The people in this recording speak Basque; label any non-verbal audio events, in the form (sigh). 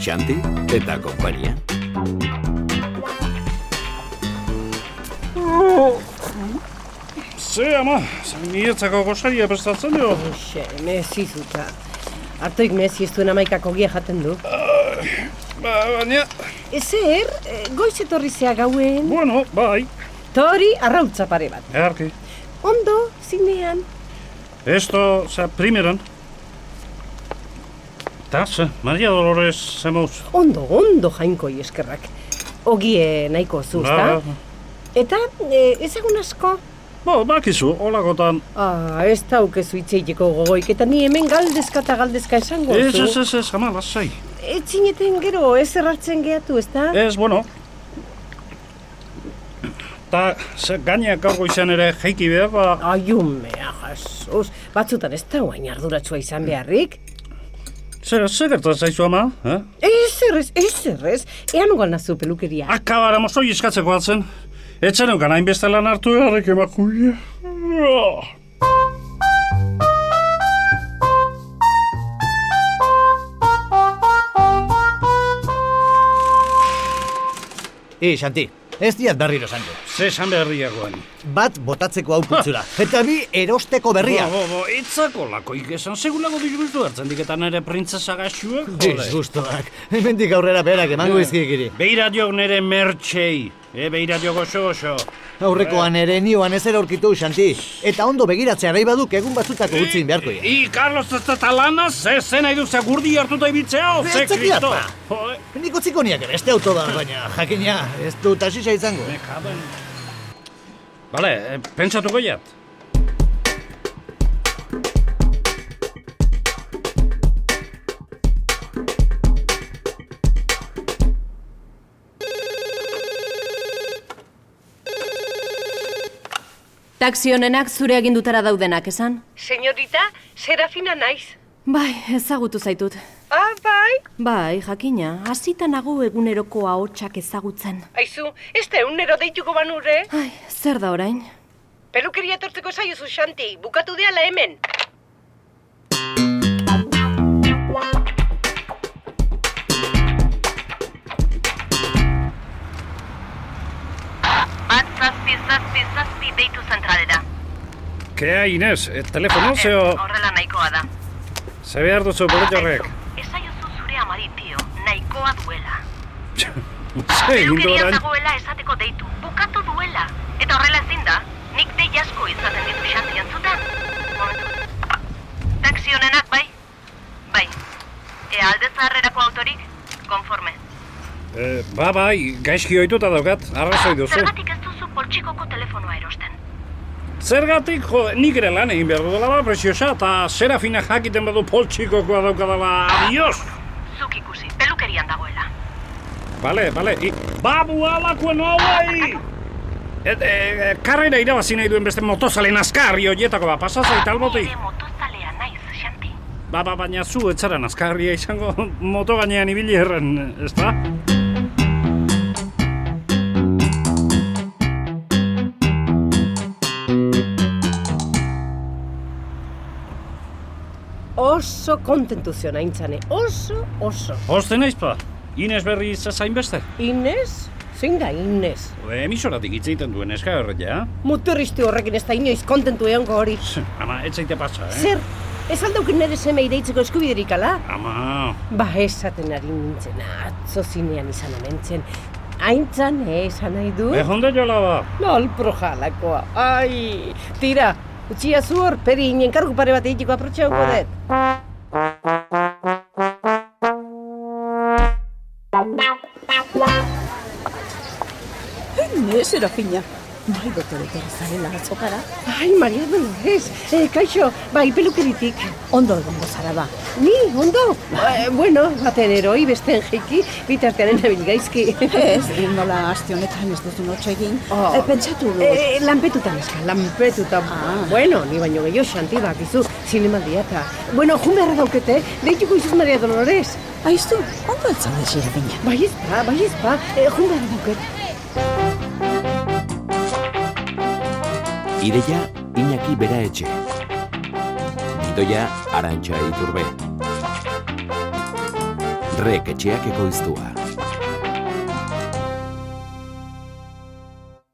Xanti eta konpainia. Ze, ama, niretzako gosaria prestatzen jo. Eixe, mezi zuta. Artoik mezi ez duen amaikako gia jaten du. Ba, baina, Ezer, eh, goiz etorri zea gauen, bueno, bai, tori arrautza pare bat. eharki. Ondo, zinean. Esto, za, primeran. Ta, ze, Maria Dolores, zemoz. Ondo, ondo jainko eskerrak. Ogie nahiko zu, Ba, ezta? Eta eh, ezagun asko. Bo, ba, bakizu, olakotan. Ah, ez daukezu itzeiteko gogoik, eta ni hemen galdezka eta galdezka esango Ez, zu. ez, ez, ez, ama, lasai. Ez zineten gero, ez erratzen gehatu, ez da? Ez, bueno. Ta, ze, gaineak gaur goizan ere jeiki behar, ba, Aiumea, jasuz. Batzutan ez da guain arduratsua izan beharrik. zer, zer gertatzen zaizu ama, eh? Ez errez, ez errez. Ean ugal nazu pelukeria. Akabara mozoi eskatzeko atzen. Etxan eukan hainbeste lan hartu beharrik emakuia. I, Xanti, ez diat berriro zango. Ze esan beharriagoan. Bat botatzeko hau (laughs) putzura, eta bi erosteko berria. Bo, bo, bo, etzako lakoik esan, segulako disgustu hartzen diketan ere printzesa gaxuak. Disgustuak, hemendik aurrera berak emango izkikiri. Beira diok nere mertxei. E, beira diok oso oso. Aurrekoan ere nioan ezer aurkitu, Xanti. Eta ondo begiratzea nahi baduk egun batzutako utzin beharko dira. I, Carlos ez da talana, ze zen nahi du ze gurdi hartuta ibiltzea, o, Ze, ze aitzakia, kristo. pa. Jo, e, Nik utziko niak ere, beste auto bat, baina jakina, ez du tasisa izango. me cago en- Bale, e, pentsatuko jat. Taxi honenak zure agindutara daudenak, esan? Señorita, Serafina naiz. Bai, ezagutu zaitut. Ah, bai. Bai, jakina, hasita nago eguneroko ahotsak ezagutzen. Aizu, ez da eunero deituko banure. Ai, zer da orain? Pelukeria etortzeko zaiozu, Xanti. Bukatu deala hemen. Bat zazpi, zazpi, zazpi deitu zentralera. Kea, Inez, e, telefono zeo, Horrela nahikoa da. ze behar duzu boletorrek. Esaiozu zure amari, tio. Nahikoa duela. (laughs) Ze egin du Zukerian orain? dagoela esateko deitu. Bukatu duela. Eta horrela ezin da. Nik dei asko izaten ditu xanti antzutan. Momentu. Taxi honenak, bai? Bai. Ea alde zaharrerako autorik? Konforme. Eh, ba, bai, gaizki ohituta daukat, arrazoi duzu. Zergatik ez duzu poltsikoko telefonoa erosten. Zergatik, jo, nik ere lan egin behar dudala ba, preziosa, eta Serafina jakiten badu poltsikokoa daukadala, adios! Zuk ikusi, pelukerian dagoela. Bale, bale, i, babu alako noai! Et, e, e, karrera irabazi nahi duen beste motozalen azkarri horietako ba, pasa zait albotik. Nire motozalea naiz, Xanti. Ba, ba, baina zu etzaran azkarria izango (laughs) moto gainean ibili erren, ez da? Oso kontentu zion haintzane. Oso, oso. Hoste naiz pa, Ines berri zezain beste. Inez? Zein da Inez? Emisoratik hitz egiten duen eska horretia. Muturristi horrekin ez da inoiz kontentu egongo hori. Ama, etzaite pasa, eh? Zer, ez aldaukin nire semei deitzeko eskubiderik ala? Ama, Ba, esaten ari nintzen, atzo zinean izan omen zen. Aintzan, eh, esan nahi du? Ejonde jola ba. Nolpro jalakoa, ai! Tira, utxia zu hor, peri inen kargu pare bat egiteko aprotxauko dut. Ne, Serafina. Bai, doktore, etorri zarela atzokara. Ai, Maria Dolores, eh, kaixo, bai, pelukeritik. Ondo egongo zara ba. Ni, ondo? Eh, bueno, baten eroi, besteen jeiki, bitartearen abilgaizki. Ez, nola aste honetan ez duzu notxe egin. Oh. Eh, pentsatu dut. Eh, lanpetuta neska, lanpetuta. Ah. Bueno, ni baino gehiago xanti bakizu, zinemaldia eta. Bueno, jun beharra daukete, deituko izuz Maria Dolores. Aiztu, ondo etzaude, Serafina. Bai ez ba, bai ez ba, eh, jun beharra dauket. Ideia Iñaki bera etxe. Gidoia Arantxa Iturbe. Rek etxeak ekoiztua.